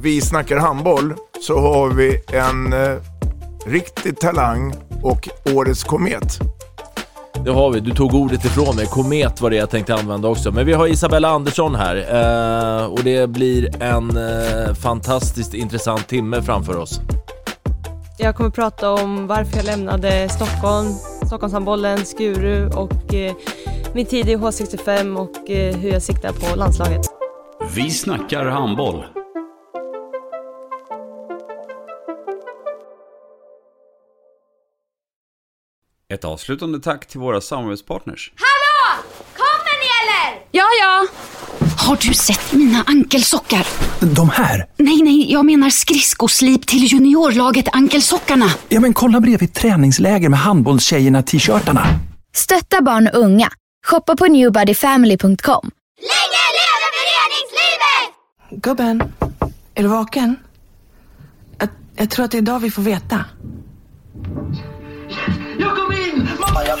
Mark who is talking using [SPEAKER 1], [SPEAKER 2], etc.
[SPEAKER 1] vi snackar handboll, så har vi en eh, riktig talang och årets komet.
[SPEAKER 2] Det har vi. Du tog ordet ifrån mig. Komet var det jag tänkte använda också. Men vi har Isabella Andersson här eh, och det blir en eh, fantastiskt intressant timme framför oss.
[SPEAKER 3] Jag kommer prata om varför jag lämnade Stockholm, Stockholmshandbollen, Skuru och eh, min tid i H65 och eh, hur jag siktar på landslaget.
[SPEAKER 4] Vi snackar handboll. Ett avslutande tack till våra samarbetspartners.
[SPEAKER 5] Hallå! Kommer ni eller?
[SPEAKER 6] Ja, ja. Har du sett mina ankelsockar?
[SPEAKER 7] De här?
[SPEAKER 6] Nej, nej, jag menar skridskoslip till juniorlaget Ankelsockarna.
[SPEAKER 7] Ja, men kolla bredvid träningsläger med handbollstjejerna-t-shirtarna.
[SPEAKER 8] Stötta barn och unga. Shoppa på newbodyfamily.com.
[SPEAKER 5] Länge leve föreningslivet!
[SPEAKER 9] Gubben, är du vaken? Jag, jag tror att det är idag vi får veta.
[SPEAKER 10] Jag kom in! Mamma, jag